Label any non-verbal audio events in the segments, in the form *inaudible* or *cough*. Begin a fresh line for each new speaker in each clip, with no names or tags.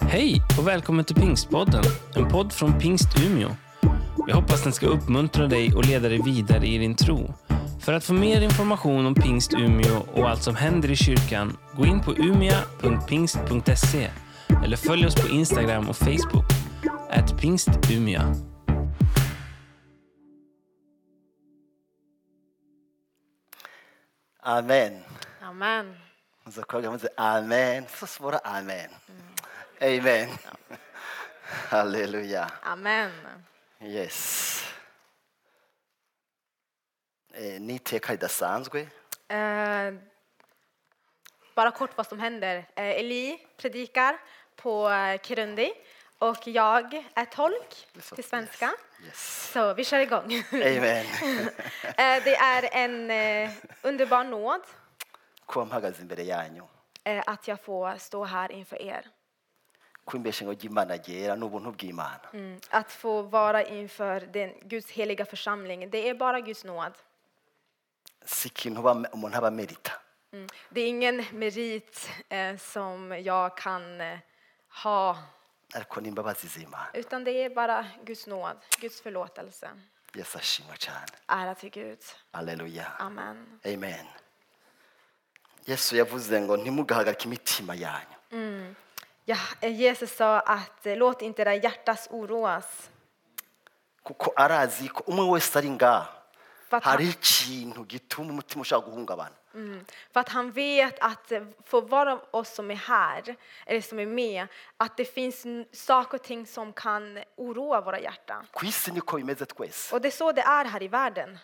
Hej och välkommen till Pingstpodden, en podd från Pingst Umeå. Jag hoppas den ska uppmuntra dig och leda dig vidare i din tro. För att få mer information om Pingst Umeå och allt som händer i kyrkan, gå in på umia.pingst.se eller följ oss på Instagram och Facebook, at pingstumia.
Amen.
Amen.
Och så kollar man sig, amen, så svåra amen. Amen. Halleluja.
Amen.
Yes. Eh, Ni teka idasanzwe
Eh, bara kort vad som händer. Eh, Eli predikar på eh, Kirundi och jag är tolk till svenska.
Yes.
Så vi kör igång.
Amen.
*laughs* Eh, det är en eh, underbar nåd
kuba mpagaze imbere yanyu
eh, att jag får stå här inför er.
kuba imbeshingo ry'imana ryera ni ubuntu bw'imana
Mm. Att få vara inför den Guds heliga församling, det är bara Guds nåd.
si ikintu ba- umuntu aba amerita
Mm. Det är ingen merit eh, som jag kan eh, ha
ariko ni imbabazi z'imana
Utan det är bara Guds nåd, Guds förlåtelse.
yesu ashimwe cyane
Ära till Gud.
halleluya
Amen.
amen yesu yavuze ngo ntimugahagarike imitima yanyu
Ja, eh, Jesus sa att eh, låt inte era hjärtas oroas.
kuko arazi ko umwe wese ari ngaha
Fata-
hari ikintu gituma umutima ushaka guhungabana
Mm. För att han vet att eh, för var av oss som är här, eller som är med, att det finns n- saker och ting som kan oroa våra hjärtan.
ku isi niko bimeze twese
Och det är så det är här i världen.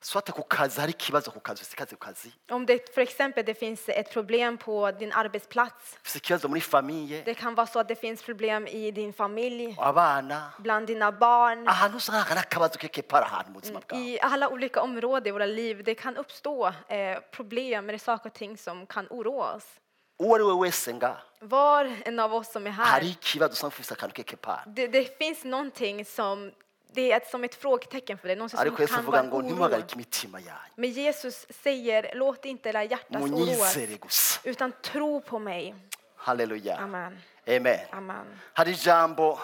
swate ku kazi hari ikibazo ku kazi ufite ikibazo ku kazi
Om det för exempel det finns ett problem på din arbetsplats.
ufite ikibazo muri famiye
Det kan vara så att det finns problem i din familj,
abana
bland dina barn.
ahantu usanga hari akabazo keke para ahantu mu buzima bwawe
I alla olika områden i våra liv det kan uppstå eh, problem eller saker och ting som kan oroa oss.
uwo ari we wese ngaha
Var en av oss som är här,
hari ikibazo usanga ufite akantu keke para
det, det finns någonting som det är ett, som ett frågetecken för dig, någonting
ariko
som
yesu
kan
avuga
vara
ngo
oro.
ntimuhagarike imitima yanyu
Men Jesus säger, låt inte era hjärtas oroas,
munyizere gusa
utan tro på mig.
haleluya
Amen.
amen
Amen.
hari ijambo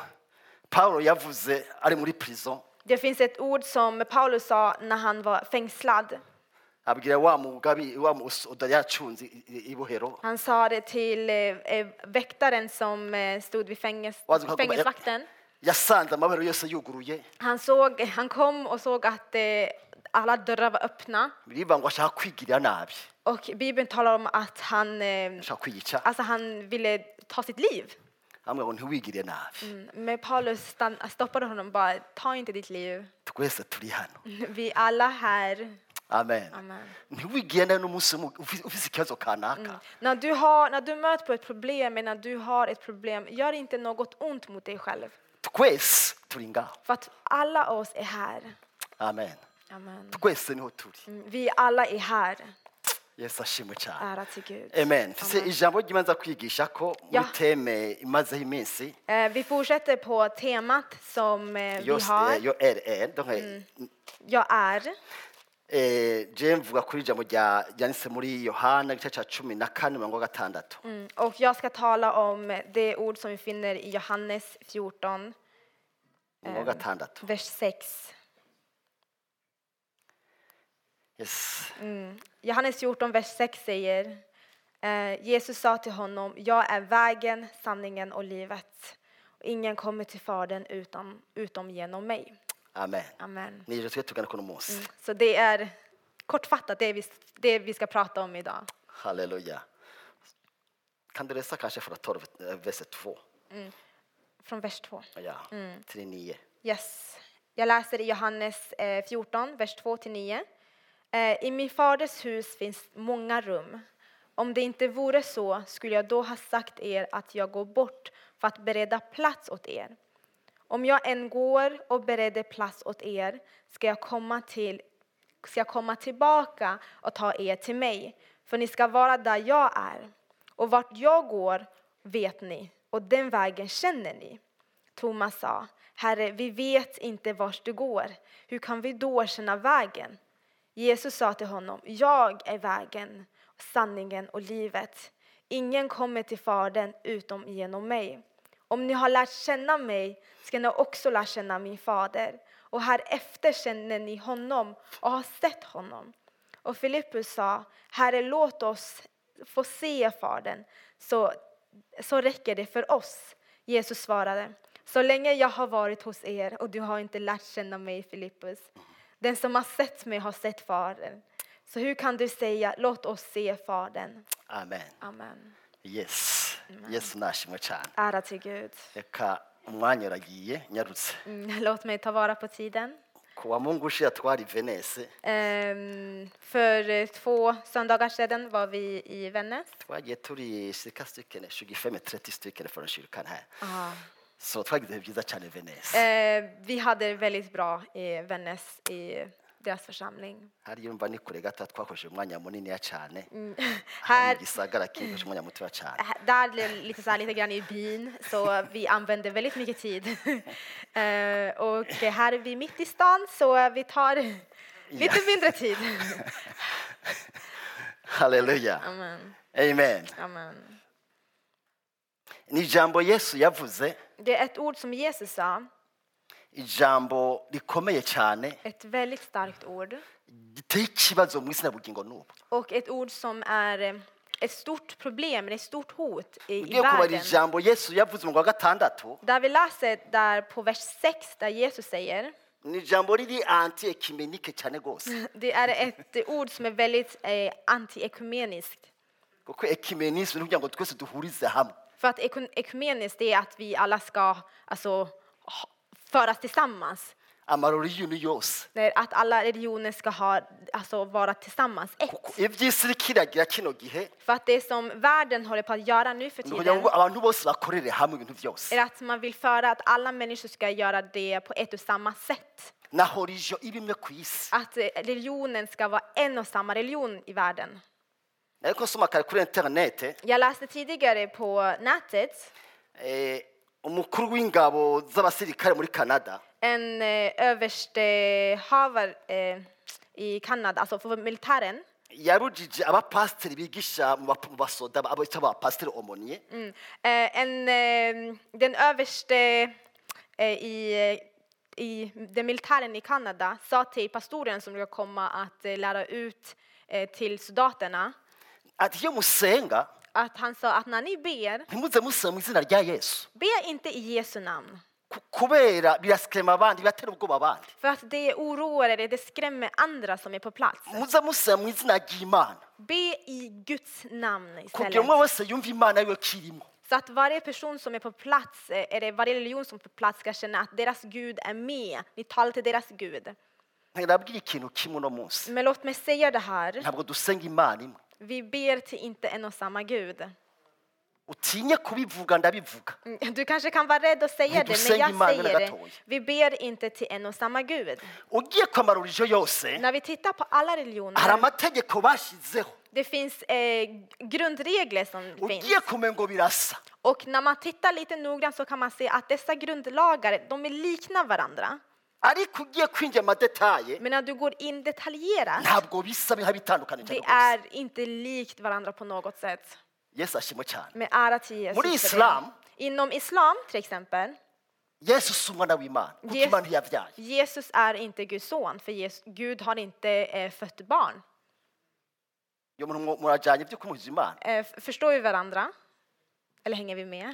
pawulo yavuze ari muri prison
Det finns ett ord som Paulus sa när han var fängslad.
abwira wa mugabi wa musoda yacunze i- i- ibohero
Han sa det till eh, eh, väktaren som eh, stod vid fänges,
Vad som kan komma-
fängelsevakten.
yasanze amabero yose yuguruye
Han, såg, han kom och såg att eh, alla dörrar var öppna
birivuga ngo ashaka kwigirira nabi
och Bibeln talar om att han, eh,
ashaka kwiyica
alltså han ville ta sitt liv.
amwe ngo ntiwigirire nabi
Mm, Men Paulus stann, stoppade honom och bara, ta inte ditt liv.
twese turi hano
Vi alla här.
amen
Mm. Amen.
ntiwigire nabi n'umunsi umwe ufi- ufise ikibazo kanaka
Mm. När, du har, när du möter på ett problem, eller när du har ett problem, gör inte något ont mot dig själv.
twese turi ngaho
För att alla oss är här.
amen
Amen.
twese niho turi
Mm, Vi alla är här.
yesu ashimwe cyane
Ära till Gud.
amen mfise
Amen.
ijambo ry'imanza kwigisha ko muri
Ja.
teme imazeho iminsi
Eh, Vi fortsätter på temat som eh, vi
yose
har.
yo rr donc
Mm. Jag är.
eh, je mvuga kuri ijambo rya ryanditse muri yohana igice cya cumi na kane mirongo gatandatu
Mm. Och jag ska tala om det ord som vi finner i Johannes 14,
mirongo gatandatu
vers 6.
yes
Johannes 14, vers 6 säger eh, Jesus sa till honom, jag är vägen, sanningen och livet. Ingen kommer till Fadern utan, utom genom mig.
amen
Amen. Mm.
nijoro tujye tugana kuno munsi
Så det är kortfattat det vi, det vi ska prata om idag.
halleluja kan du läsa kanske från 12 eh, vers 2
Från vers 2.
ja till 9
Yes. Jag läser i Johannes eh, 14, vers 2-9. Eh, I min faders hus finns många rum. Om det inte vore så skulle jag då ha sagt er att jag går bort för att bereda plats åt er. Om jag än går och bereder plats åt er ska jag komma, till, ska jag komma tillbaka och ta er till mig, för ni ska vara där jag är. Och vart jag går vet ni, och den vägen känner ni. Thomas sa, Herre, vi vet inte vart du går. Hur kan vi då känna vägen? Jesus sa till honom, jag är vägen, sanningen och livet. Ingen kommer till Fadern utom genom mig. Om ni har lärt känna mig ska ni också lära känna min fader. Och här efter känner ni honom och har sett honom. Och Filippus sa, Herre, låt oss få se Fadern, så, så räcker det för oss. Jesus svarade, så länge jag har varit hos er och du har inte lärt känna mig, Filippus. Den som har sett mig har sett Fadern. Så hur kan du säga, låt oss se Fadern?
amen
Amen.
yes yesu nashimwe cyane
Ära till Gud.
reka umwanya uragiye nyarutse
Mm, Låt mig ta vara på tiden.
ku wa mungu ushize twari venese
Ehm, för eh, två söndagar sedan var vi i Vännäs.
twagiye turi shika stycken 25 30 stycken från kyrkan här
Ah.
så twagize ibihe byiza cyane venese
Eh, vi hade det väldigt bra i Vännäs, i deras församling.
hariya umva ni kure gata twakoresheje umwanya muniniya cyane
Här,
mu gisagara kikoresha umwanya mutoya cyane
*laughs* här- där blev det lite, så här, lite grann i byn, så vi använde väldigt mycket tid. *laughs* eh, och här är vi mitt i stan, så vi tar lite mindre tid.
haleluya
Amen.
amen
Amen.
ni ijambo yesu yavuze
Det är ett ord som Jesus sa,
ijambo rikomeye cyane
ett väldigt starkt ord.
giteye ikibazo mu isi na bugingo n'ubu
Och ett ord som är eh, ett stort problem, ett stort hot i, i
ugiye kubara
världen.
ijambo yesu yavuze mu wa gatandatu
Där vi läser där på vers 6 där Jesus säger,
ni ijambo riri anti ekimenike cyane
*laughs*
rwose
det är ett eh, ord som är väldigt eh, antiekumeniskt.
kuko ekimenisme ni kugira ngo twese duhurize hamwe
För att ekun- ekumeniskt det är att vi alla ska alltså, ha- föras tillsammans.
amaroriyuni yose
Nej, Att alla religioner ska ha, alltså, vara tillsammans,
kuko
ett.
iby'isi bikiragira kino gihe
För att det som världen håller på att göra nu för
ni kugira
tiden
ngo abantu bose bakorere hamwe ibintu byose
är att man vill föra att alla människor ska göra det på ett och samma sätt.
na horijo iba imwe ku isi
att eh, religionen ska vara en och samma religion i världen.
ariko nsoma kare kuri interinete
Jag läste tidigare på nätet
eh, umukuru w'ingabo z'abasirikare muri kanada
en eh, överstehavare eh, i Kanada, alltså för militären.
yarujije abapasiteri bigisha mu bap- mu basoda abo bita abapasiteri omoniye
Mm. Eh, en, eh, den överste eh, i, i den militären i Kanada sa till pastoren som ska komma att eh, lära ut eh, till soldaterna
ati iyo musenga
att han sa att när ni ber,
ntimuze musaba mu izina rya yesu
be inte i Jesu namn.
Ku- kubera birasikema abandi biratera ubwoba abandi
För att det oroar er, det skrämmer andra som är på plats.
muze musaba mu izina ry'imana
Be i Guds namn
kugira umwe
istället.
wese yumve imana ariyo kirimo
Så att varje person som är på plats, eh, eller varje religion som är på plats ska känna att deras Gud är med. Ni talar till deras Gud.
ntabwira ikintu kimwe uno munsi
Men låt mig säga det här,
ntabwo dusenga imana imwe
vi ber till inte en och samma Gud.
utinye kubivuga ndabivuga
Mm, Du kanske kan vara rädd att säga
Men du
det, men
säger
jag
mannen
säger
att
det.
oj.
Vi ber inte till en och samma Gud.
ugiye kwambara urijo yose
När vi tittar på alla
hari
religioner,
amategeko bashizeho
det finns eh, grundregler som finns.
ugiye kumenya ngo birasa
Och när man tittar lite noggrant så kan man se att dessa grundlagar, de är liknar varandra.
ariko ugiye kwinjira mu madetaye
Men när du går in detaljerat,
ntabwo bisa biha bitandukanye
det
cyane rwose
är inte likt varandra på något sätt.
yesu ashimwe cyane
Med ära till Jesus.
Muri
för det.
islam-
Inom islam till exempel,
yesu si umwana w'imana kuko
Yes.
imana ntiyabyaye
Jesus är inte Guds son, för Jesus, Gud har inte eh, fött barn.
iyo muntu mu- murajyanye ibyo kumuhuza imana
Eh, f- förstår vi varandra? Eller hänger vi med?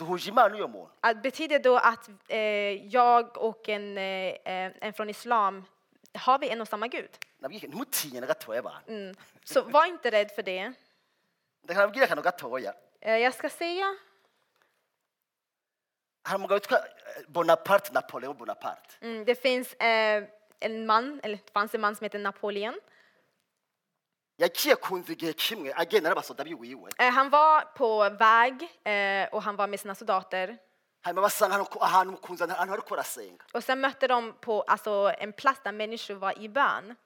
duhuje imana n'uyo muntu
Att- Betyder då att eh, jag och en, eh, eh, en från islam, har vi en och samma Gud?
Nabwiye, ntimutinye na gatoya abantu
Mm. Så var inte rädd för det.
reka nabwire akantu gatoya
Eh, Jag ska säga,
hari umugabo witwa eh, bonaparte napoleon bonaparte
mm, det finns eh, en man, eller det fanns en man som heter Napoleon.
yagiye ku nzu igihe kimwe agenda n'abasoda biwiwe
Eh, han var på väg eh, och han var med sina soldater.
hanyuma basanga ahantu ku- ahantu ku nzu ahantu bari ko barasenga
Och sen mötte de på alltså, en plats där människor var i bön.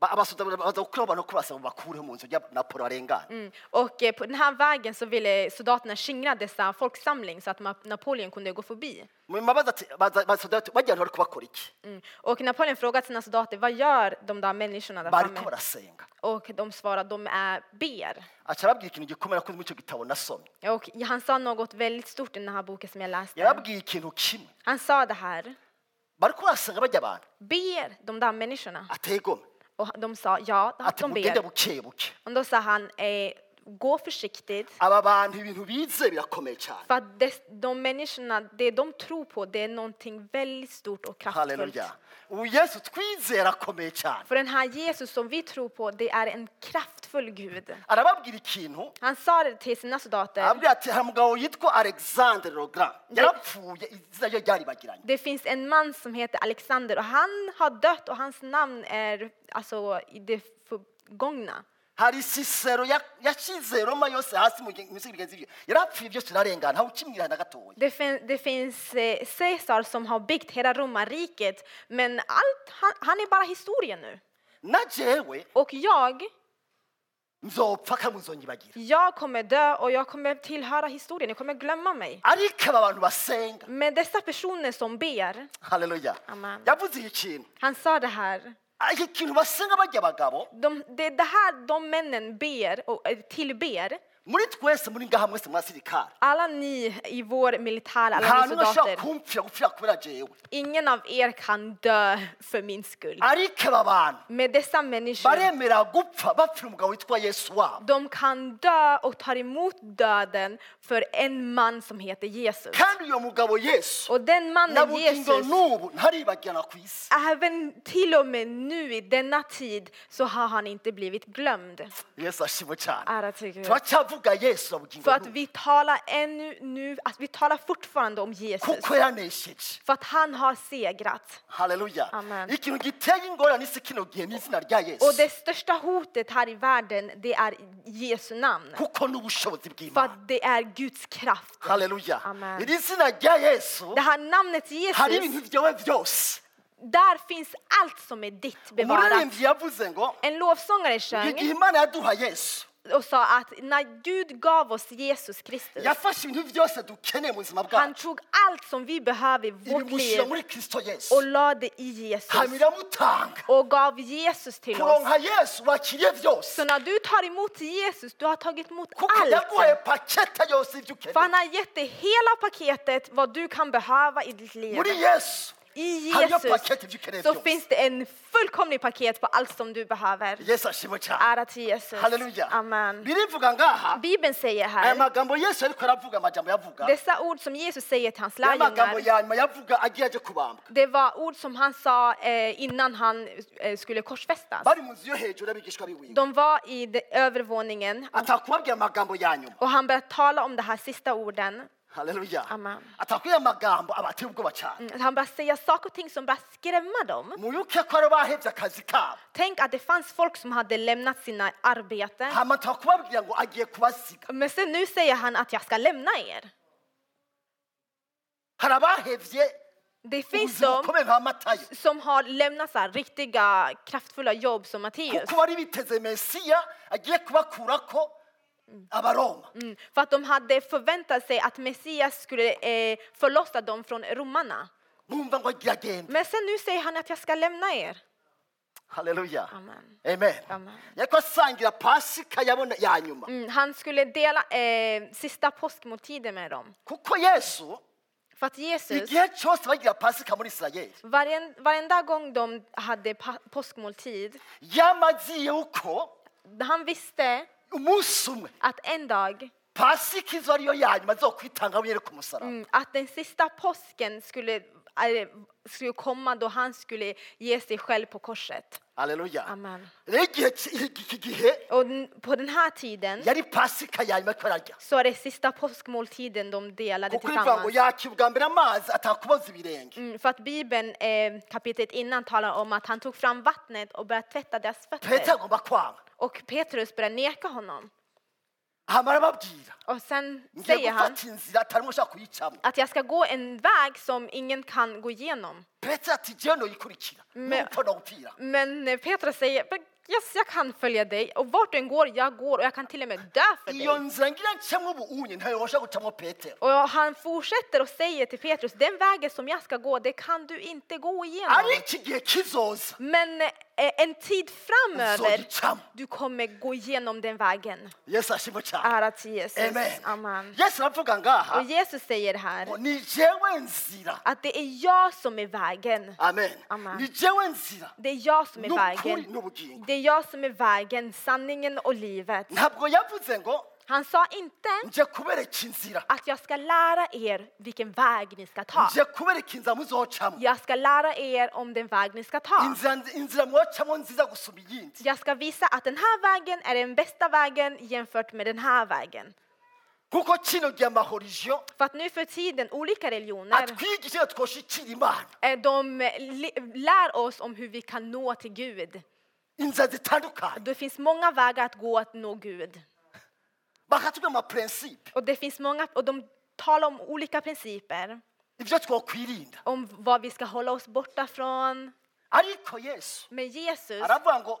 Ba- abasuta baza kuko abantu ko basaba bakureho mu nzu ya napolo arengana
Mm. Och eh, på den här vägen så ville soldaterna skingra dessa folksamling så att Ma- Napoleon kunde gå förbi.
mubaza ati baza- basoda- bagira ngo bari kubakora iki
Mm. Och Napoleon frågade sina soldater, vad gör de där människorna där
bariko
framme?
barasenga
Och de svarade, de är ber.
aca arababwira ikintu gikomeye nakunze muri icyo gitabo nasomye
Och han sa något väldigt stort i den här boken som jag läste.
yarabwiye ikintu kimwe
Han sa det här,
bariko barasenga bajya abantu
ber de där människorna?
ateye igomwe
Och de sa, ja,
ati
de
mugende
ber.
buke buke
Och då sa han, eh, gå försiktigt.
aba bantu ibintu bize birakomeye cyane
För att des, de människorna, det de tror på, det är någonting väldigt stort och kraftfullt.
haleluya ubu yesu twizera akomeye cyane
För den här Jesus som vi tror på, det är en kraftfull Gud.
arababwira ikintu
Han sa det till sina soldater.
arababwira ati hari umugabo yitwa alexandre Legrand yarapfuye izina rye ryaribagiranye
Det finns en man som heter Alexander och han har dött och hans namn är alltså i det förgångna.
hari sisero ya- yashyize roma yose hasi mu gihe- mu bisigo bigenzi bye yarapfuye byose turarengana ntawe ukimwira na gatoya
Det, fin det finns eh, Caesar som har byggt hela romarriket men allt, han, han är bara historia nu.
na jewe
Och jag,
nzopfa kandi nzonyibagira
jag kommer dö och jag kommer tillhöra historien, jag kommer glömma mig.
ariko aba bantu basenga
Men dessa personer som ber,
haleluya
Amen.
yavuze iki kintu
han sa det här,
iki kintu basenga bajya abagabo
de, det, det här de männen ber och eh, tillber,
muri twese muri ngaha mwese mwasirikare
alla ni i vår militär, alla
nta
ni
n'umwe ushobora
soldater,
kumfira gupfira kubera jewe
ingen av er kan dö för min skull.
ariko aba bantu
Med dessa människor,
baremera gupfa bapfira umugabo witwa yesu wabo
de kan dö och tar emot döden för en man som heter Jesus.
kandi uyo mugabo yesu
Och den
na
mannen
bugingo
Jesus,
n'ubu ntaribagirana ku isi
även till och med nu i denna tid så har han inte blivit glömd.
yesu ashimwe cyane
Ära till Gud.
turacyavuga yesu na bugingo
För att
n'ubu
vi talar ännu nu, att vi talar fortfarande om Jesus.
kuko yanesheje
För att han har segrat.
haleluya
Amen.
ikintu giteye ingorane isi kino gihe ni izina rya
Och
yesu
det största hotet här i världen, det är Jesu namn.
kuko n'ubushobozi
För
bw'imana
att det är Guds kraft.
haleluya
Amen.
iri zina rya yesu
Det här namnet
hari eh, ibintu
Jesus,
byawe byose
där finns allt som är ditt bevarat.
umuririmbyi yavuze ngo
En lovsångare sjöng
igihe imana yaduha yesu
och sa att när Gud gav oss Jesus Kristus,
yafashe ibintu byose dukeneye mu buzima
han
bwacu
tog allt som vi behöver i vårt
ibimushyira
liv
muri kirisito yesu
och la det i Jesus.
hanyuma iramutanga
Och gav Jesus till oss.
kuronka yesu wakiriye
Så
byose
när du tar emot Jesus, du har tagit emot
kuko yaguhaye
allt.
pakete yose y'ibyo
För
ukeneye
han har gett dig hela paketet vad du kan behöva i ditt liv.
muri yesu
I
hariyo
Jesus
pakete y'ibyo ukeneye
så
byose
finns det en fullkomlig paket på allt som du behöver.
yesu ashimwe cyane
Ära till Jesus.
haleluya
Amen.
birivuga ngaha
Bibeln säger
aya
här,
magambo yesu ariko aravuga amajambo yavuga
dessa ord som Jesus säger till hans
aya magambo
lärjungar,
ya nyuma yavuga agiye ajya kubambwa
det var ord som han sa eh, innan han eh, skulle korsfästas.
bari mu nzu yo hejuru y'abigishwa biwiga
De var i de- övervåningen
atakubabwira amagambo ya nyuma
och han började tala om de här sista orden.
haleluya
Amen.
atakubwira amagambo abateye ubwoba cyane
Mm, Han började säga saker och ting som började skrämma dem.
muyoke ko ari bahebye akazi kabo
Tänk att det fanns folk som hade lämnat sina arbeten.
hama atakubabwira ngo agiye kubasiga
Men sen nu säger han att jag ska lämna er.
hari abahebye
Det finns
ubuzima
de
bukomeye nka matayo
som har lämnat så här riktiga kraftfulla jobb som Matteus.
kuko bari biteze mesiya agiye kubakura ko abaroma
Mm, för att de hade förväntat sig att Messias skulle eh, förlossa dem från romarna.
bumva ngo agiye agenda
Men sen nu säger han att jag ska lämna er.
haleluya
Amen.
amen
Amen.
yariko asangira pasika yabona ya nyuma
Mm, han skulle dela eh, sista påskmåltiden med dem.
kuko yesu
För att Jesus,
igihe cyose bagira pasika muri isirayeli
varje, varenda gång de hade pa- påskmåltid,
yamaziye uko
han visste
umunsi umwe
att en dag,
pasika izo ariyo ya nyuma zo kwitanga wenyine ku musaraba
mm, att den sista påsken skulle, eh, skulle komma då han skulle ge sig själv på korset.
haleluya
Amen.
rero igihe ki- iki gihe
Och n- på den här tiden
yari pasika ya nyuma ko ararya
så är det sista påskmåltiden de delade
kuko ivuga ngo
tillsammans.
yakira ubwa mbere amazi atakuboza ibirenge
Mm, för att Bibeln, eh, kapitlet innan, talar om att han tog fram vattnet och började tvätta deras
petero
fötter.
agomba kwanga
Och Petrus började neka honom.
hama arababwira
Och sen
ngiye
säger han
gufata inzira atarimo ushaka kuyicamo
att jag ska gå en väg som ingen kan gå igenom.
petero ati jeno yikurikira
Me-
nuko nagupfira
Men eh, Petrus säger, "Men yes, jag kan följa dig och vart du än går, jag går och jag kan till och med dö för
iyo
dig.
nzira ngira ncamo ubu unye ntayobasha gucamo petero
Och han fortsätter och säger till Petrus, den vägen som jag ska gå, det kan du inte gå igenom.
ari iki gihe kizoza
Men eh, en tid framöver,
uzogicamo
du kommer gå igenom den vägen.
yesu ashimwe cyane
Ära till Ah, Jesus.
amen
Amen.
yesu aravuga
Och
ngaha
Jesus säger här
ngo ni jewe nzira
att det är jag som är vägen.
amen
Amen.
ni jewe nzira
Det är jag som är
n'ukuri
vägen.
n'ubugingo
Det är jag som är vägen, sanningen och livet.
ntabwo yavuze ngo
Han sa inte
nje kubereka inzira
att jag ska lära er vilken väg ni ska ta.
nje kubereka inzira muzocamo
Jag ska lära er om den väg ni ska ta.
inzira inzira mwocamo nziza gusumba iyindi
Jag ska visa att den här vägen är den bästa vägen jämfört med den här vägen.
kuko kino gihe amahoriziyo
För att nu för tiden, olika religioner,
atwigisha twoshikira imana
eh, de li- lär oss om hur vi kan nå till Gud.
inzira zitandukanye
Det finns många vägar att gå att nå Gud.
bakatubwira amapurensipe
Och, det finns många, och de talar om olika principer,
ibyo twokwirinda
om vad vi ska hålla oss borta från.
ariko yesu
Men Jesus,
aravuga ngo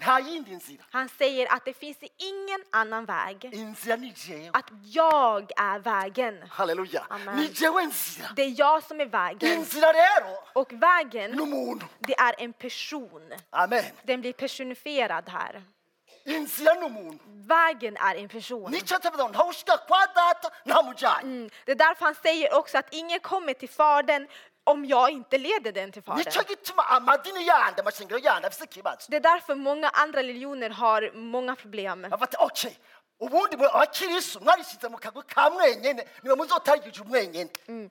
nta yindi nzira
han säger att det finns ingen annan väg.
inzira ni jewe
Att jag är vägen.
haleluya
Amen.
ni jewe nzira
Det är jag som är vägen.
inzira rero
Och
ni
vägen,
umuntu
det är en person.
amen
Den blir personifierad här.
inzira ni umuntu
Vägen är en person.
nicyo atavuga ngo ntawushika kwa data ntamujyanye
Mm. Det är därför han säger också att ingen kommer till Fadern om jag inte leder den till Fadern.
nicyo gituma amadini yandi amashingiro yandi afite ikibazo
Det är därför många andra religioner har många problem.
bavuga ati okay ubundi mwe abakirisu mwarishyize mu kagwi ka mwenyene niwe muzotangije umwenyene
Mm.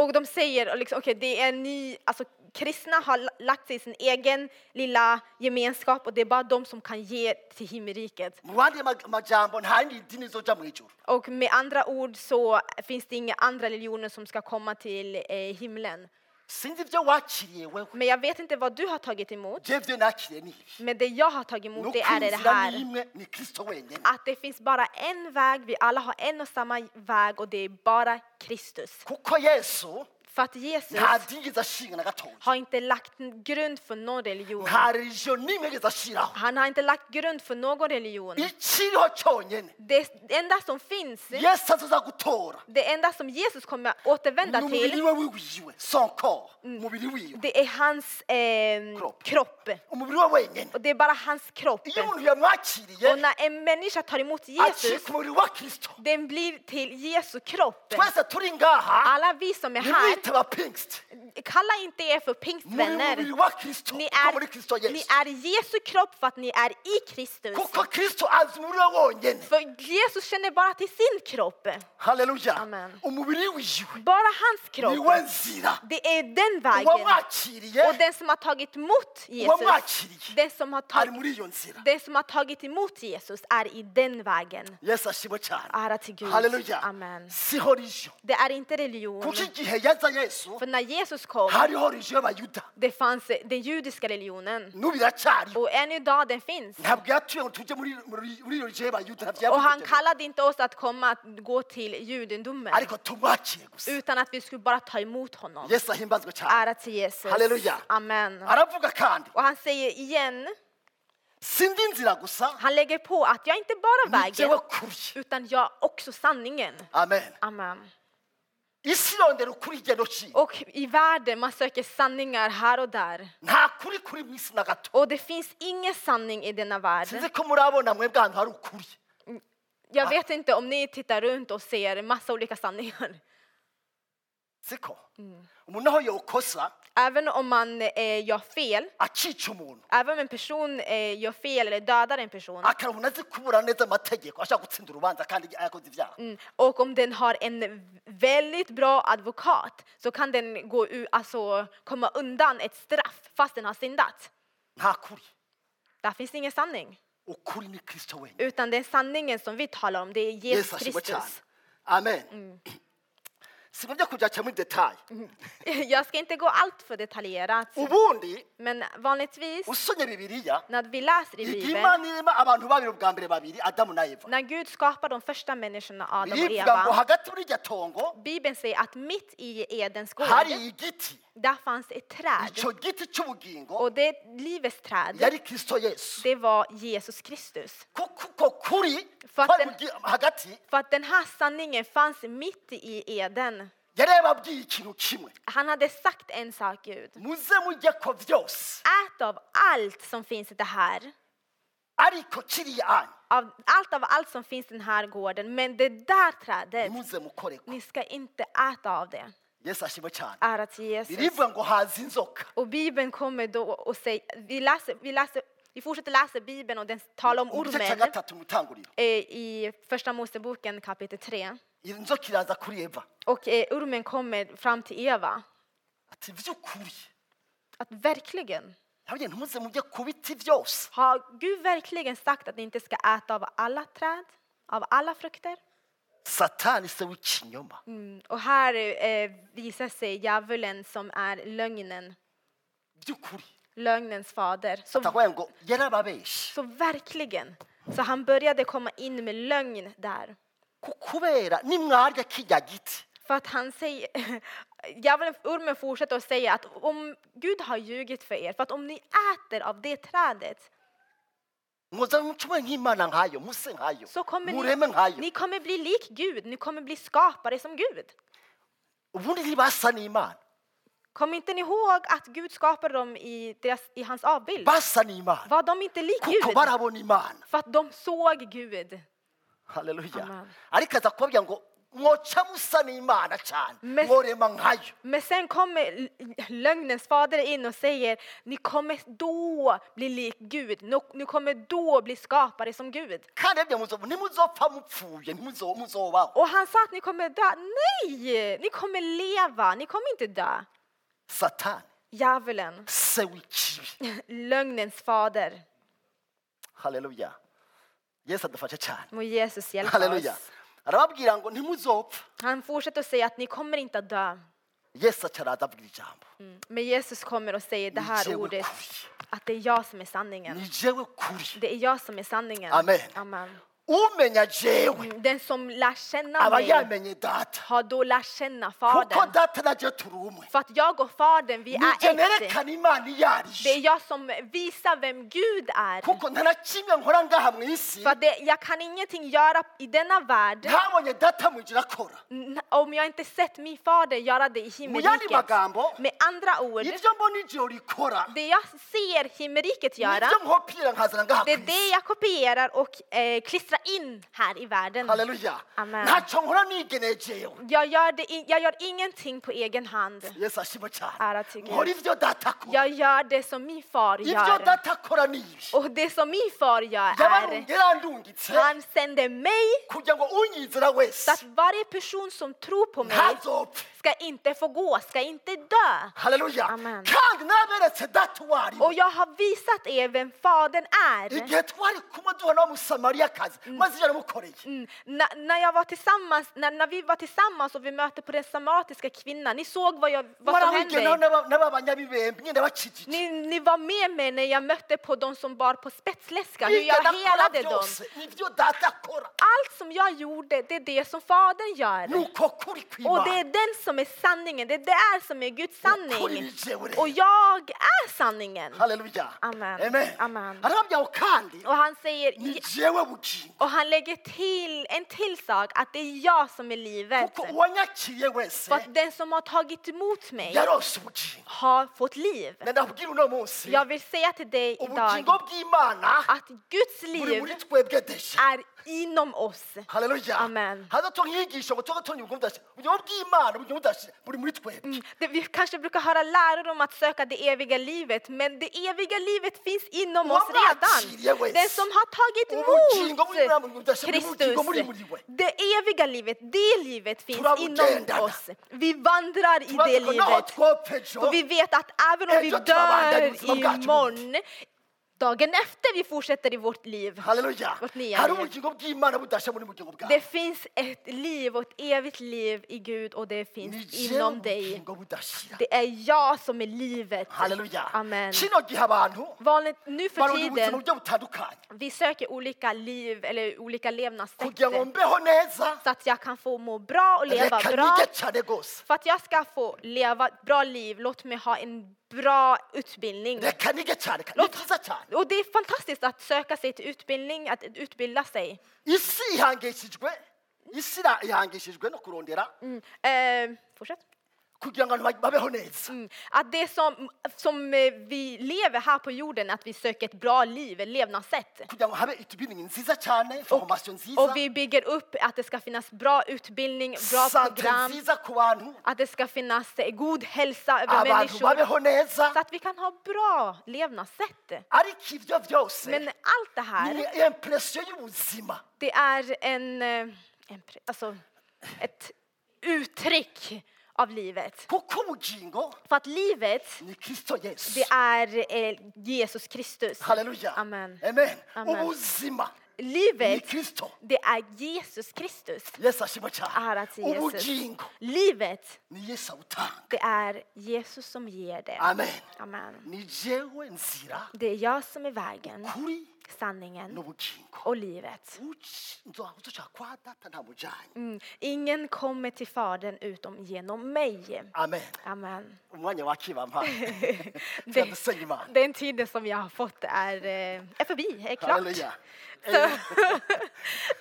Och de säger liksom, okej, det är ni, alltså kristna har la- lagt sig i sin egen lilla gemenskap och det är bara de som kan ge till himmelriket.
mu bandi mag- majambo nta yindi dini izoja mu ijuru
Och med andra ord så finns det inga andra religioner som ska komma till eh, himlen.
sinzi ibyo wakiriye wewe
Men jag vet inte vad du har tagit emot,
je byo nakiriye ni ibi
men det jag har tagit
ni
emot det
uko
är det
inzira ni
här.
imwe ni kirisito wenyene
Att det finns bara en väg, vi alla har en och samma väg och det är bara Kristus.
kuko yesu
För att Jesus
nta dini yigeze ashinga na gatoya
har inte lagt n- grund för någon religion.
nta religiyo n'imwe yigeze ashiraho
Han har inte lagt grund för någon religion.
ikiriho cyonyene
Det enda som finns,
yesu azoza gutora
det enda som Jesus kommer att
ni
återvända
umubiri
till,
we wiwiwe son corps
Mm.
umubiri wiwe
det är hans eh,
Kropp.
kropp.
umubiri we wenyene
Och det är bara hans kropp.
iyo umuntu
Och
yamwakiriye
när en människa tar emot Jesus,
acika umubiri wa kirisito
den blir till Jesu kropp.
twese turi ngaha
Alla vi som är här,
nimwite ba pinkst
kalla inte er
muri
för
umubiri
pingstvänner.
wa kirisito
Ni
kuko muri kirisito
är, ni
yesu
är Jesu kropp för att ni är i Kristus.
kuko kirisito azi umubiri we wonyene
För Jesus känner bara till sin kropp,
haleluya
Amen.
umubiri wiwe
bara hans
niwe
kropp.
nzira
Det är den vägen. Och
uwamwakiriye
den som har tagit emot Jesus,
uwamwakiriye
den som har
ari
tagit,
muri iyo nzira
den som har tagit emot Jesus är i den vägen.
yesu ashimwe cyane
Ära till Gud.
haleluya
Ah, Amen.
siho rijo
Det är inte religion.
kuko igihe yaza yesu
För när Jesus kom,
hariho rijo y'abayuda
det fanns den judiska religionen.
n'ubu iracyariho
Och än idag den finns.
ntabwo yatuye ngo tujye muri muri- muri iyo rijo y'abayuda ntabwo
Och han
yavuze
kallade inte oss att komma att gå till judendomen.
ariko tumwakire gusa
Utan att vi skulle bara ta emot honom.
yesu ahimbazwe cyane
Ära till Jesus.
Halleluja.
Amen.
aravuga kandi
Och han säger igen,
sindi inzira gusa
han lägger på att jag är inte bara
ni
vägen,
jewe kuri
utan jag är också sanningen.
amen
Amen.
isi irondera ukuri igenda uciye
Och i världen man söker sanningar här och där.
nta kuri kuri mu isi na gato
Och det finns ingen sanning i denna värld.
sinzi ko murabona mwebwe ahantu hari ukuri
Jag vet inte om ni tittar runt och ser massa olika sanningar. *laughs*
siko umuntu aho yokosa
Även om man eh, gör fel,
akica umuntu
även om en person eh, gör fel eller dödar en person
akaba umuntu azi kubura neza amategeko ashaka gutsinda urubanza kandi yakoze ibyaha
mm, och om den har en väldigt bra advokat så kan den gå u- alltså, komma undan ett straff fast den har syndat.
nta kuri
Där finns ingen sanning.
ukuri ni kirisito wenyine
Utan den sanningen som vi talar om, det är Jesus Mm.
yesu ashimwe cyane
Kristus.
amen sinajya kujya cyane muri detaye
*laughs* Mm. Jag ska inte gå allt för detaljerat,
Oh, ubundi
men vanligtvis
usomye bibiliya
när vi läser i
igihe
Bibeln,
imana irema abantu babiri ubwa mbere babiri adamu na eva
när Gud skapar de första människorna, Adam och
birivuga ngo
Eva,
hagati muri iryo tongo
Bibeln säger att mitt i Edens gård,
hari igiti
där fanns ett träd.
icyo giti cy'ubugingo
Och det livets träd,
yari kirisito yesu
det var Jesus Kristus.
Ku- kuko kuri
Fast
kwari
den-
kugi- hagati
För att den här sanningen fanns mitt i Eden.
yari yababwiye ikintu kimwe
Han hade sagt en sak, Gud.
muze mujye ko byose
Ät av allt som finns i det här.
ariko kiriya anyu
Av allt av allt som finns i den här gården. Men det där trädet,
muze mukore ko
ni ska inte äta av det.
yesu ashimwe cyane
Ära till Jesus.
birivuga ngo haza inzoka
Och Bibeln kommer då och säger, vi, läser, vi, läser, vi fortsätter läsa Bibeln och den talar om
mu gice cya
ormen
gatatu mu itanguriro
eh, i Första Moseboken kapitel 3.
iyi nzoka iraza kuri eva
Och eh, ormen kommer fram till Eva.
ati by'ukuri
Att verkligen,
ntabwo ntuze mujye ku biti byose
har Gud verkligen sagt att ni inte ska äta av alla träd, av alla frukter?
satani se w'ikinyoma
Mm. Och här eh, visar sig djävulen som är lögnen,
by'ukuri
lögnens fader. Så,
atavuga ngo yarababeshye
så verkligen, så han började komma in med lögn där.
Ku- kubera nimwarya kijya giti
För att han säger, *laughs* djävulen, ormen fortsätter att säga att om Gud har ljugit för er, för att om ni äter av det trädet
muze mucumure nk'imana nkayo muse nkayo
så kommer
mureme
ni,
nkayo
ni kommer bli lik Gud, ni kommer bli skapare som Gud.
ubundi ntibasa n'imana
Kom inte ni ihåg att Gud skapade dem i, deras, i hans avbild?
basa n'imana
Var de inte lik
kuko
Gud?
barabona imana
För att de såg Gud.
haleluya
Amen.
ariko aza kubabwira ngo mwoca musa n'imana cyane
Mes-
mworema nkayo
Men sen kommer l- lögnens fader in och säger, ni kommer då bli lik Gud, Nå- ni kommer då bli skapare som Gud.
kandi ebyo muzo- ntimuzopfa mupfuye ntimuzo- muzobaho
Och han sa att ni kommer dö. Nej, ni kommer leva, ni kommer inte dö.
satani
Djävulen, *laughs*
se w'ikibi
lögnens fader.
haleluya yesu adufashe cyane
Må Jesus hjälpa
haleluya
oss.
arababwira ngo ntimuzopfa
Han fortsätter att säga att ni kommer inte att dö.
yesu acaraza abwira ijambo
Mm. Men Jesus kommer och säger det
ni
här
jewe
ordet,
kuri
att det är jag som är sanningen.
ni jewe kuri
Det är jag som är sanningen.
Amen.
Amen.
umenya jewe
Mm, Den som lär känna
aba
mig
yamenye data
har då lärt känna
kuko
Fadern.
data na je turi umwe
För att jag och Fadern, vi
nijye
är ett.
nerekana imana iyo ari
Det är
yo
jag som visar vem Gud är.
kuko nta na kimwe nkora ngaha mu isi
För att det, jag kan ingenting göra i denna värld
ntabonye data mu ngira akora
n- om jag inte sett min fader göra det i
mu yandi
himmelriket.
magambo
Med andra ord,
ibyo mbona ijoro rikora
det jag ser himmelriket göra,
nibyo nkopira nkazana ngaha ku
det är det
isi
jag kopierar och eh, klistrar in här i världen.
haleluya
Amen.
ntacyo nkora nigeneye jewe
Jag gör, det, i- jag gör ingenting på egen hand.
yesu ashima cyane
Ära till Gud.
nkora ibyo data akora
Jag gör det som min far
ibyo
gör.
data akora ni ibi
Och det som min far gör är,
yabarungi yarandungitse
han sänder mig
kugira ngo unyizera
så att
wese
varje person som tror på mig
ntazopfe
ska inte få gå, ska inte dö.
haleluya
Amen.
kandi naberetse data uwo ari
Och jag har visat er vem Fadern är.
igihe twari kumwe duhana w'umusamariyakazi maze ijoro mukoreye
Mm. När- när, jag var tillsammans, när, när vi var tillsammans och vi mötte på den samariatiska kvinnan, ni såg vad, jag, vad som
mwarawigenaho
hände.
n'aba- n'ababanyabibembe nyine bakikije
Ni, ni var med mig när jag mötte på de som bar på spetsläska, hur
ibyo
jag
nakora
helade dem.
byose nibyo data akora
Allt som jag gjorde, det är det som Fadern gör.
ni uko kuri
Och det
kw'imana
är den som är sanningen, det är det är som är Guds
ukuri
sanning.
bijewe
Och jag är sanningen.
haleluya
Amen. Amen.
arababwira ngo kandi
Och han säger,
ni jewe bugingo
och han lägger till en till sak, att det är jag som är livet.
kuko uwanyakiriye wese
För att den som har tagit emot mig
yarose ubugingo
har fått liv.
ndabwira uno munsi
Jag vill säga till dig
ubugingo
idag
bw'imana
att Guds
buri muri
liv
twebwe deshe
är inom oss.
haleluya
Amen.
haza tunkigisha ngo tuze tunyumva udashira ubugingo bw'imana ubugingo budashira buri muri twebwe
Det, vi kanske brukar höra läror om att söka det eviga livet, men det eviga livet finns inom oss redan. Den som har tagit emot Kristus, det eviga livet, det livet finns inom oss. Vi vandrar i det
Turavuga ngo naho
livet.
twopfa ejo
Och vi vet att även om vi
Ejo turabandanya
dör
ubuzima bwacu
imorgon Dagen efter vi fortsätter i vårt liv.
haleluya
Vårt nya
hari
liv.
ubugingo bw'imana budashya muri bugingo bwawe
Det finns ett liv och ett evigt liv i Gud och det finns
Ni
inom dig.
ubugingo budashira
Det är jag som är livet.
haleluya
Amen.
kino gihe abantu
Vanligt, nu för
baronda ubuzima
tiden,
buryo butandukanye
vi söker olika liv eller olika
kugira ngo
levnadssätt
mbeho neza
så att jag kan få må bra och leva
reka
bra.
nige cyane rwose
För att jag ska få leva ett bra liv, låt mig ha en bra utbildning.
reka nige cyane kandi ni byiza cyane
Och det är fantastiskt att söka sig till utbildning, att utbilda sig.
isi ihangishijwe isi ira- ihangishijwe no kurondera
Mm. Eh, fortsätt.
kugira ngo abantu babeho neza
Mm. Att det som, som eh, vi lever här på jorden, att vi söker ett bra liv, ett levnadssätt.
kugira ngo habe utubinini nziza cyane foromasiyo nziza
Och vi bygger upp att det ska finnas bra utbildning, bra
sante
program,
nziza ku bantu
att det ska finnas eh, god hälsa över
abantu
människor.
babeho neza
Så att vi kan ha bra levnadssätt.
ariko ibyo byose
Men allt det här,
ni impresiyo y'ubuzima
det är en, eh, en pre- alltså, ett uttryck av livet.
kuko ubugingo
För att livet,
ni kirisito yesu
det är eh, Jesus Kristus.
haleluya
Amen.
amen
Amen.
ubuzima ni
Livet,
kirisito
det är Jesus Kristus.
yesu ashimwe cyane
Ära till Ah, Jesus.
ubugingo
Livet,
ni yesu awutanga
det är Jesus som ger det.
amen
Amen.
ni jewe nzira
Det är jag som är vägen,
kuri
sanningen
n'ubugingo
och livet.
Uci- nzo- uzoshaka kwa data ntamujyanye
Mm. Ingen kommer till Fadern utom genom mig.
amen
Amen.
umwanya wakibampa
Det,
turadusenya imana
den tiden som jag har fått är, eh, är förbi, är klart.
haleluya *laughs*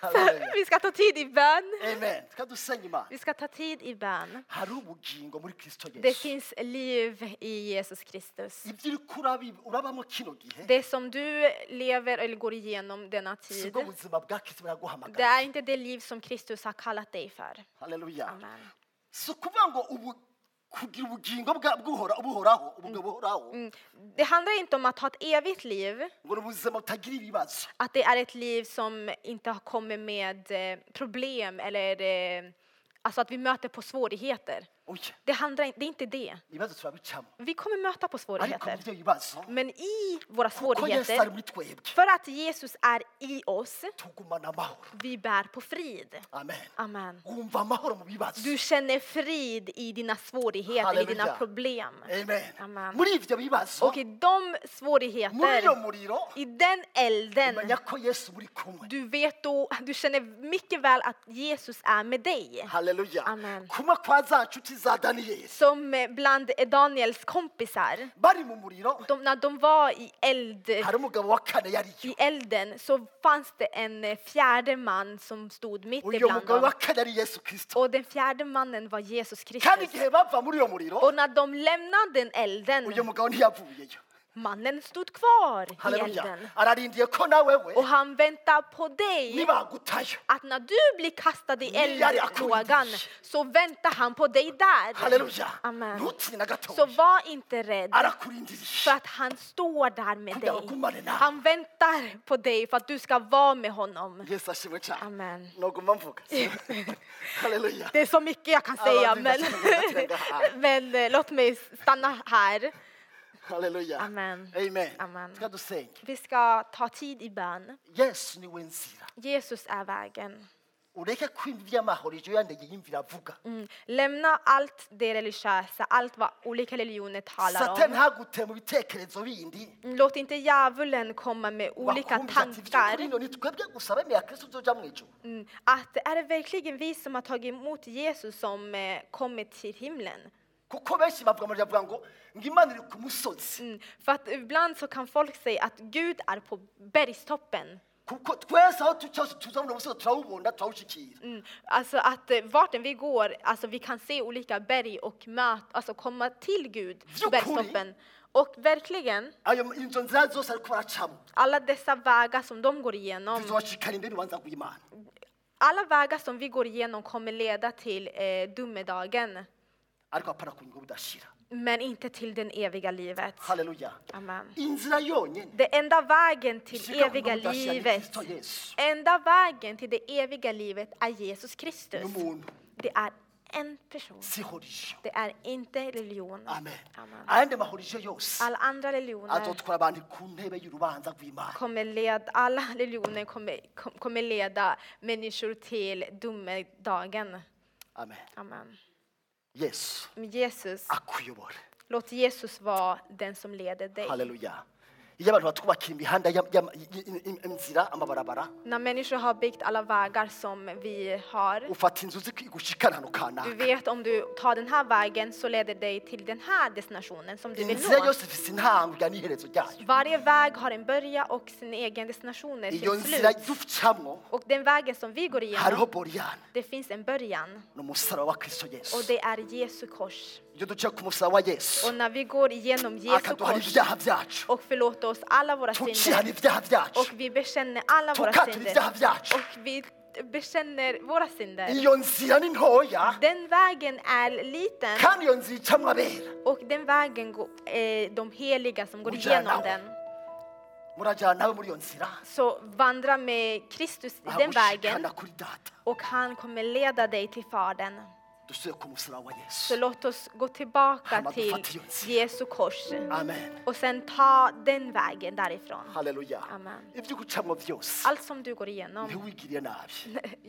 Så, *laughs* vi ska ta tid i bön.
amen tukadusenya imana
Vi ska ta tid i bön.
hari ubugingo muri kirisito
Det
yesu
finns liv i Jesus Kristus.
ibyo uri kurabi- urabamo kino gihe
Det som du lever eller går igenom denna
si
tid,
bwo buzima bwa kristo
det
buraguhamagara
är inte det liv som Kristus har kallat dig för.
haleluya
Amen.
si ukuvuga ngo ubu- kugira ubugingo bwa- bw'uhora- buhoraho ubugabo buhoraho
Mm. Det handlar inte om att ha ett evigt liv,
ngo ni ubuzima butagira ibibazo
att det är ett liv som inte har kommit med eh, problem eller eh, alltså att vi möter på svårigheter.
oya
Det, handlar, in- det är inte det.
ibibazo turabicamo
Vi kommer möta
ariko
på svårigheter.
ibyo bibazo
Men i våra
kuko yesu ari
svårigheter,
muri twebwe
för att Jesus är i oss,
tugumana amahoro
vi bär på frid.
amen
Amen.
wumva amahoro mu bibazo
Du känner frid i dina svårigheter, i dina
Halleluja.
problem.
amen
Amen.
muri ibyo bibazo
Och i de
muri iyo
svårigheter,
muriro
i den elden,
menya ko yesu muri kumwe
du vet då, du känner mycket väl att Jesus är med dig.
haleluya
Amen.
kumwe kwa za nshuti za daniyeli
Som eh, bland Daniels kompisar,
bari mu muriro
de, när de var i, eld,
hari umugabo wa kane yariyo
i elden så fanns det en eh, fjärde man som stod mitt
uyu
ibland
mugabo
dem.
wa kane ari yesu kirisito
Och den fjärde mannen var Oh, Jesus Oh,
kandi
Kristus.
igihe bava muri uwo muriro
Och när de lämnade den
uyu
elden,
mugabo ntiyavuyeyo
mannen stod kvar i
haleluya
elden.
ararindiye ko nawe we
Och han väntar på dig.
nibagutayo
Att när du blir kastad i
Niar jag
eldlågan
kunde.
så väntar han på dig där.
haleluya
Amen.
ntutinde na
Så
gatoya
var inte rädd för
arakurindiriye
att han står där med
kugira
dig.
ngo ugumane nawe
Han väntar på dig för att du ska vara med honom.
yesu ashimwe cyane
Amen.
noguma
*laughs*
mvuga haleluya
Det är så mycket jag kan
Ja, vad
säga,
du
men,
ska säga.
*laughs* men eh, låt mig stanna här.
haleluya
Amen.
amen
Amen.
tukadusenge
Vi ska ta tid i bön.
yesu niwe nzira
Jesus är vägen.
ureke kwimba iby'amahoro ijyo yandege yimvira avuga
Mm. Lämna allt det religiösa, allt vad olika religioner talar om. Mm,
satani ntagute mu bitekerezo bindi
Låt inte djävulen komma med olika
wakumva ati
tankar.
by'ukuri ni twebwe gusa bemeye kristo uzoja mu ijuru
Mm, Att är det verkligen vi som har tagit emot Jesus som eh, kommit till himlen?
kuko benshi bavuga amajambo avuga ngo ngo imana iri ku musozi
Mm, För att ibland så kan folk säga att Gud är på bergstoppen.
kuko twese aho tu cyose tuzabona umusozi turawubona turawushyikira
Mm, Alltså att eh, vart än vi går, alltså vi kan se olika berg och möt, alltså komma till Gud,
Jokuri.
bergstoppen. Och verkligen,
ayo inzo nzira zose ariko baracamo
alla dessa vägar som de går igenom,
tuzobashikara imbere urubanza rw'imana
alla vägar som vi går igenom kommer leda till eh, domedagen.
ariko hapana kunyurwa budashira
men inte till det eviga livet.
haleluya
Amen.
inzira yonyine
Det enda vägen till
ishika
eviga
kunyurwa budashira ni
livet,
kristo yesu
enda vägen till det eviga livet är Jesus
ni
Kristus.
umuntu
Det är en person.
si religion
Det är inte religion.
amen
Amen.
ayandi mahurijo yose
Alla andra religioner
azotwara abantu ku ntebe y'urubanza rw'imana
kommer leda, alla religioner kommer, kom- kommer leda människor till domedagen.
amen
Amen.
yesu
Men Jesus,
akuyobora
låt Jesus vara den som leder dig.
haleluya iyo abantu batwubakira imihanda y'am- y'am- y- y- y- inzira amabarabara
När människor har byggt alla vägar som vi har,
ufata inzu uzi gushikana hano
du
kanaka
vet om du tar den här vägen så leder dig till den här destinationen som du vill
inzira
nå.
yose ifite intambwe n'iherezo ryayo
Varje väg har en början och sin egen destination är
iyo
till
nzira
slut.
ducamwo
Och den vägen som vi går
hariho
igenom,
boriyani
det finns en början
ni umusaraba wa kristo
och
yesu
det är Jesu kors.
iyo duca ku musaraba wa yesu
Och när vi går igenom Jesu
akaduhana
kors
ibyaha byacu
och förlåter oss alla våra
tukihana
synder
ibyaha
och
byacu
vi bekänner alla våra
tukatura
synder
ibyaha byacu
och vi bekänner våra synder.
iyo nzira ni ntoya
Den vägen är liten
kandi iyo nzira icamwo abera
och den vägen går, eh, de heliga som går
Och
igenom
gärna.
den.
murajyana nawe muri iyo nzira
Så vandra med Kristus i den vägen
bagushikana kuri data
och han kommer leda dig till Fadern.
dusubire ku musaraba wa
Så
yesu
låt oss gå tillbaka
Han
till
hade fattat
Jesu kors
amen
och sen ta den vägen därifrån.
haleluya
Amen.
ibyo ugucamwo byose
Allt som du går igenom,
ntiwigiriye nabi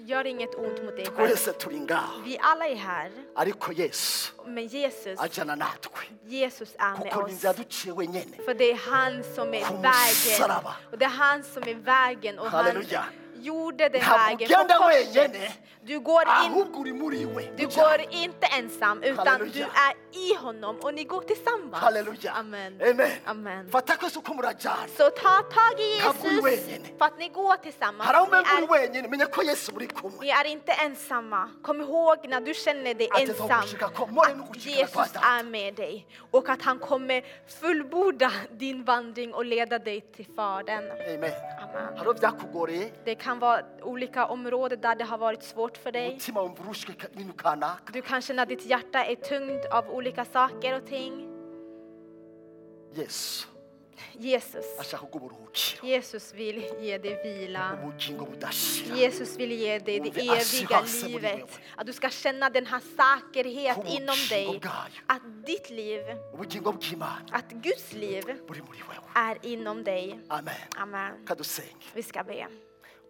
*laughs* gör inget ont mot dig själv.
twese turi ngaho
Vi alla är här,
ariko yesu
men Jesus,
ajyana natwe
Jesus är med
kuko ni inzira
oss.
duciye wenyine
För det är han som är
Kom,
vägen.
Saraba.
Och det är han som är vägen. Och han
Halleluja.
gjorde den
Ntabwo
vägen på
ugenda wenyine.
korset. Du går inte
ahubwo uri muri we
Du
ujya.
går inte ensam, utan
Halleluja.
du är i honom och ni går tillsammans.
haleluya
Amen.
amen
Amen.
fata ko uko murajyana
Så ta tag i
Ntabwo uri
Jesus
wenyine.
för att ni går tillsammans.
hari aho
Ni
umenya uri
är,
wenyine menya ko yesu muri kumwe
ni är inte ensamma. Kom ihåg när du känner dig
Att det var
ensam,
olika kommor än
att
olika
Jesus
kvartal.
är med dig och att han kommer fullborda din vandring och leda dig till Fadern.
amen
Amen.
hari aho byakugoreye
Det kan vara olika områden där det har varit svårt för dig.
umutima wumva urushwe ka- n'ibintu kanaka
Du kan känna att ditt hjärta är tungt av olika saker och ting.
yesu
Jesus.
ashaka kuguburuhukira
Jesus vill ge dig vila.
ubugingo budashira
Jesus vill ge dig det
Vi är
eviga
så
livet.
beroende.
Att du ska känna den här säkerhet
Kom,
inom dig.
Shingogayo.
Att ditt liv,
ubugingo bw'imana
att Guds liv
buri muri wewe
är inom dig.
amen
Amen.
kadusenge
Vi ska be.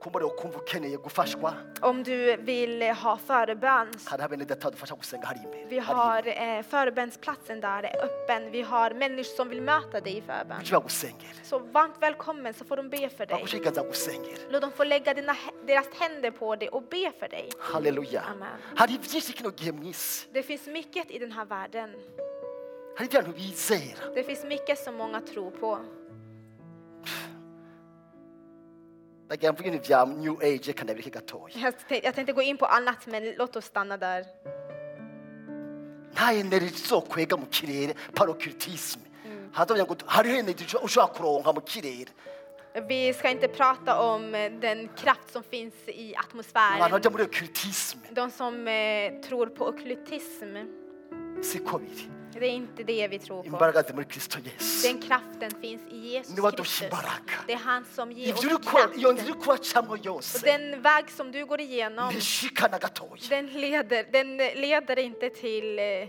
kumbureho ukumva ukeneye gufashwa
Om du vill ha förebön.
hari abene data badufasha gusenga hari imbere
Vi
hari
har
imbere.
eh, förebönsplatsen där är öppen. Vi har människor som vill möta dig i förbön.
kuki bagusengera
Så varmt välkommen så får de be för dig.
bagushishikariza gusengera
Låt dem få lägga dina, deras händer på dig och be för dig.
haleluya
Amen.
hari byinshi kino gihe mu isi
Det finns mycket i den här världen.
hari ibyo abantu bizera
Det finns mycket som många tror på.
ndagira mvuge ibintu bya new age kandi abireke gatoya
Jag tänkte, jag tänkte gå in på annat, men låt oss stanna där.
nta energy izokwega mu kirere parokiritisme haravuga ngo hariho energy usho- ushobora kuronka mu kirere
Vi ska inte prata om eh, den kraft som finns i
abantu
atmosfären.
bajya muri okiritisme
De som eh, tror på okkultism,
siko biri
det är inte det vi tror på.
imbaraga ziri muri kristo yesu
Den kraften finns i Jesus
Ni var
Kristus.
duktig baraka.
Det är han som ger
ibyo uri
oss
kuba iyo nzira
kraften.
uri kubacamo
Och
yose
den väg som du går igenom,
ntishikana gatoya
den leder, den leder inte till eh,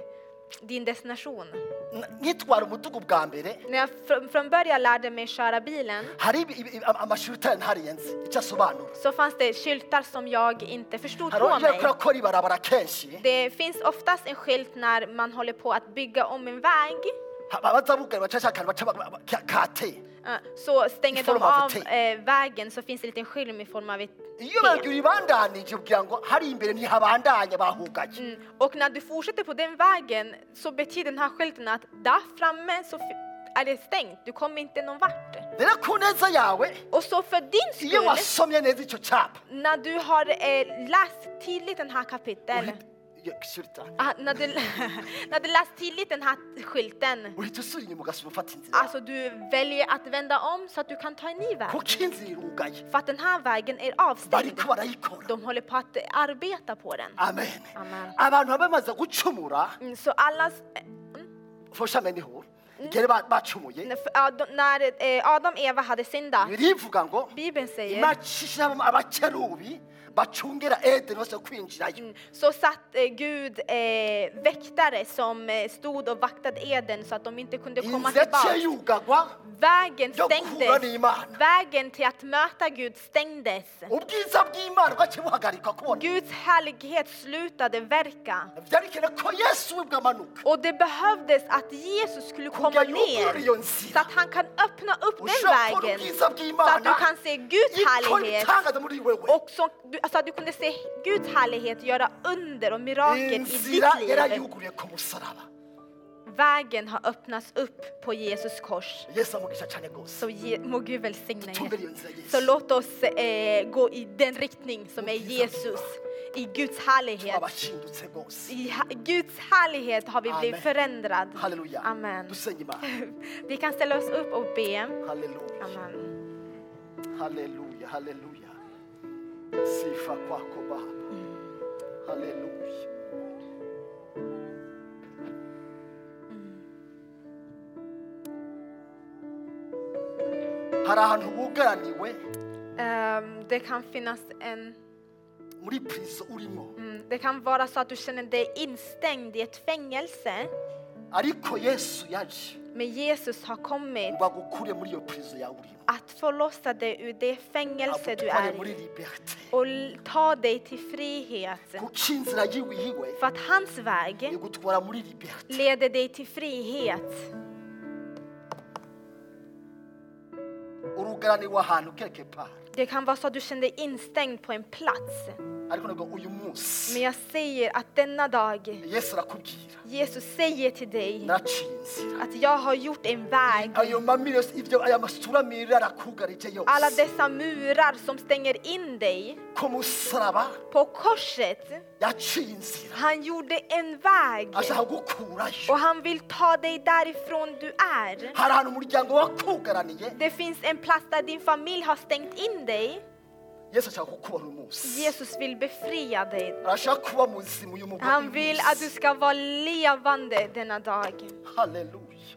din destination.
N- nitwara umudugu bwa mbere
När jag fr- från början lärde mig köra bilen
hari ibi- ibi- am- amashuri utari ntarenze icyo asobanura
så fanns det skyltar som jag inte förstod
hari aho
på
ugiye
mig.
kurakora ibarabara kenshi
Det finns oftast en skylt när man håller på att bygga om en väg.
abazabugari baca cyane baca ba- ba- ka- kate
eh, Så stänger
I form
de
av
av
ett
eh, vägen så finns det en liten skylm i form av ett
iyo
T.
babiri bandanije ubwira ngo hari imbere ntihabandanya bahugaye
Mm. Och när du fortsätter på den vägen så betyder den här skylten att där framme så fi- är det stängt, du kommer inte någon vart.
rero ku neza yawe
Och så för din
iyo
skull,
wasomye neza icyo cyapa
när du har eh, läst tydligt den här kapitlet,
uhita- iyo shirita,
Ah, när, du, *laughs* när du läst tydligt den här skylten,
uhita usubira inyuma ugasoma ufata inzira
alltså du väljer att vända om så att du kan ta en ny väg.
kuko inzira irugaye
För att den här vägen är avstängd.
bariko barayikora
De håller på att arbeta på den.
amen
Amen.
abantu baba bamaze gucumura
Mm, Så alla, s- eh,
foshamenihura igere ba- bacumuye
när- ja, de- när eh, Adam och Eva hade syndat,
birivuga ngo
Bibeln säger
imacishiramo abakerubi bacungera edeni bashobora kwinjirayo
Mm, Så satt eh, Gud eh, väktare som eh, stod och vaktade Eden så att de inte kunde komma
inzece
tillbaka.
yugagwa
Vägen
yo guhura
stängdes.
n'imana
Vägen till att möta Gud stängdes.
ubwiza bw'imana bwaciye buhagarika kubona
Guds härlighet slutade verka.
byerekana ko yesu wibwe amanuka
Och det behövdes att Jesus skulle komma
kujya yugurura
ner
iyo
så
nzira
att han kan öppna upp den
ushobora kubona
vägen
ubwiza
så att
bw'imana
du kan se Guds
ikora
härlighet
ibitangaza muri wewe
och så, du, alltså att du kunde se Guds härlighet göra under och mirakel i ditt
inzira
liv.
yarayuguriye ku musaraba
Vägen har öppnats upp på Jesus kors.
yesu amugisha cyane rwose
Så ge, må Gud välsigna
tumbere iyo
er.
nzira
Så
yesu
låt oss eh, gå i den riktning som är Jesus, i Guds härlighet.
abashindutse rwose
I ha- Guds härlighet har vi blivit
Amen.
förändrad.
haleluya
Amen.
dusenye imana
*laughs* Vi kan ställa oss upp och be.
haleluya
Amen.
Haleluya, haleluya. Sifa kwako Baba.
Mm.
Haleluya. Hari ahantu wugaraniwe
Ehm, det kan finnas en...
muri prison urimo
Mm, det kan vara så att du känner dig instängd i ett fängelse.
ariko Yesu yaje
Men Jesus har kommit
ngo agukure muri iyo prison yawe urimo
att förlossa dig ur det fängelse du
agutware
är
muri
i
liberté
och l- ta dig till frihet.
kuko inzira yiwe yiwe
För att hans väg
igutwara muri liberté
leder dig till frihet.
urugaraniwe ahantu keke pari
Det kan vara så att du känner dig instängd på en plats.
ariko ntabwo uyu
Men
munsi
jag säger att denna dag,
Yesu arakubwira
Jesus säger till dig
naciye inzira
att jag har gjort en väg.
ayo mamiri yose ibyo aya masura miriri arakugarije
Alla
yose
dessa murar som stänger in dig
ku musaraba
på korset.
yaciye inzira
Han gjorde en väg
ashaka kugukurayo
och han vill ta dig därifrån du är.
hari ahantu umuryango wakugaraniye
Det finns en plats där din familj har stängt in dig.
yesu ashaka kukubona umunsi
Jesus vill befria dig.
arashaka kuba muzima uyu mugore
Han vill att du ska vara levande denna dag.
haleluya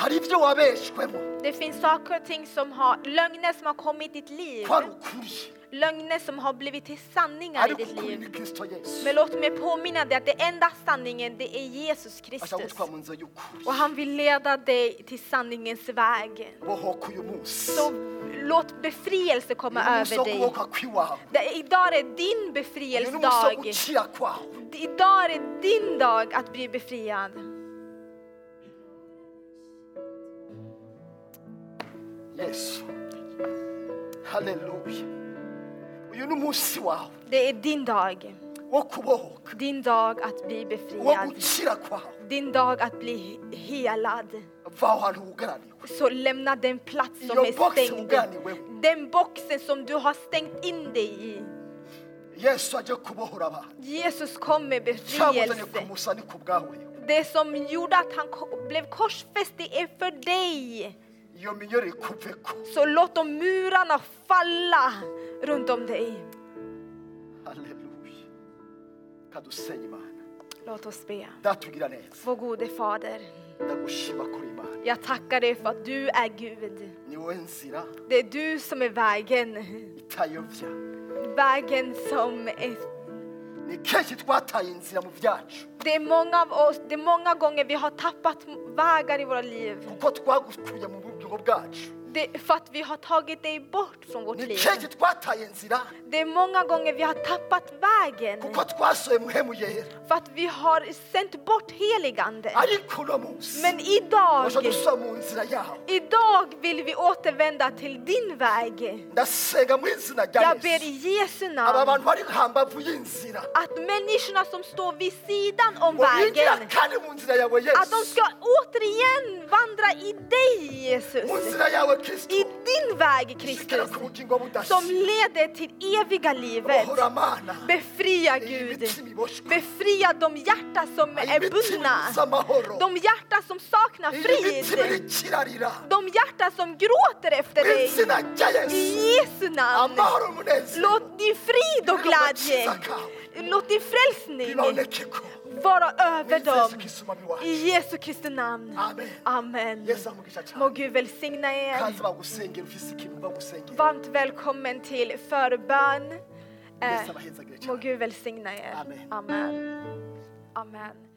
hari ibyo wabeshwemo
Det finns saker och ting som har, lögner som har kommit i ditt liv.
ko ari ukuri
Lögner som har blivit till sanningar i
ariko
ditt
ukuri ni
liv.
kirisito yesu
Men låt mig påminna dig att den enda sanningen det är Jesus
ashaka
Kristus.
kugutwara mu nzira y'ukuri
Och han vill leda dig till sanningens väg.
bohoka uyu munsi
Så låt befrielse komma
uyu munsi
över
wo
dig.
kubohoka kw'iwawe
Det, idag är din
uyu ni umunsi wo
befrielsedag.
gukira kwawe
Idag är din dag att bli befriad.
yesu haleluya uyu ni umunsi wawe
Det är din dag.
wo kubohoka
Din dag att bli
wo
befriad.
gukira kwawe
Din dag att bli helad.
va aho hantu wugaraniwe
Så lämna den plats som
Your
är
box
stängd.
uganiwe.
Den boxen som du har stängt in dig i.
yesu ajye kubohora abantu
Jesus kom med
cyamuzanye
befrielse.
kumusa ni ku bwawe
Det som gjorde att han ko- blev korsfäst, det är för dig.
iyo minyore ikuve ko
Så låt de murarna falla runt om dig.
haleluya kadusenye imana
Låt oss be.
datugira neza
Vår gode Fader,
ndagushima kuri imana
jag tackar dig för att du är Gud.
ni wowe nzira
Det är du som är vägen.
itayobya
Vägen som är...
ni kenshi twataye inzira mu byacu
Det är många av oss, det är många gånger vi har tappat vägar i våra liv.
kuko twagukuye mu bubyigo bwacu
Det är för att vi har tagit dig bort från vårt
ni
liv.
kenshi twataye inzira
Det är många gånger vi har tappat vägen.
kuko twasohoye muhemu yera
För att vi har sänt bort heligande.
ariko uno munsi
Men idag,
waje gusohoka mu nzira yawe
idag vill vi återvända till din väg.
ndasenga mu izina rya
Jag ber i
yesu
Jesu
aba
namn
bantu bari hambavu y'inzira
att människorna som står vid sidan om
ngo binjira
vägen,
kandi mu nzira yawe
att de
yesu
ska återigen vandra i dig
mu
Jesus.
nzira yawe kristo
I din väg
ishikira
Kristus,
ku bugingo
som
budashira
leder till eviga livet.
bohora amana
Befria
iyi
Gud,
mitima iboshwe
befria de hjärta som
iyi
är
mitima ibuza
bundna,
amahoro
de hjärta som saknar
iyi mitima
frid,
irikirarira
de hjärta som gråter efter
mu
dig.
izina rya yesu
I Jesu namn.
amahoro umunezero
Låt din frid och
Låt
glädje,
tillbaka.
låt din frälsning
biboneke ko
vara över
mwizeze
dem.
Yesu mami wacu.
I Jesu Kristi namn.
Amen.
Amen.
yesu amugisha cyane
Må Gud välsigna er.
kaza bagusengera ufise ikintu bagusengera
Varmt välkommen till förbön. Eh,
é yesu abahezagire
Må
cyane
Gud välsigna er.
Amen.
Amen. Amen.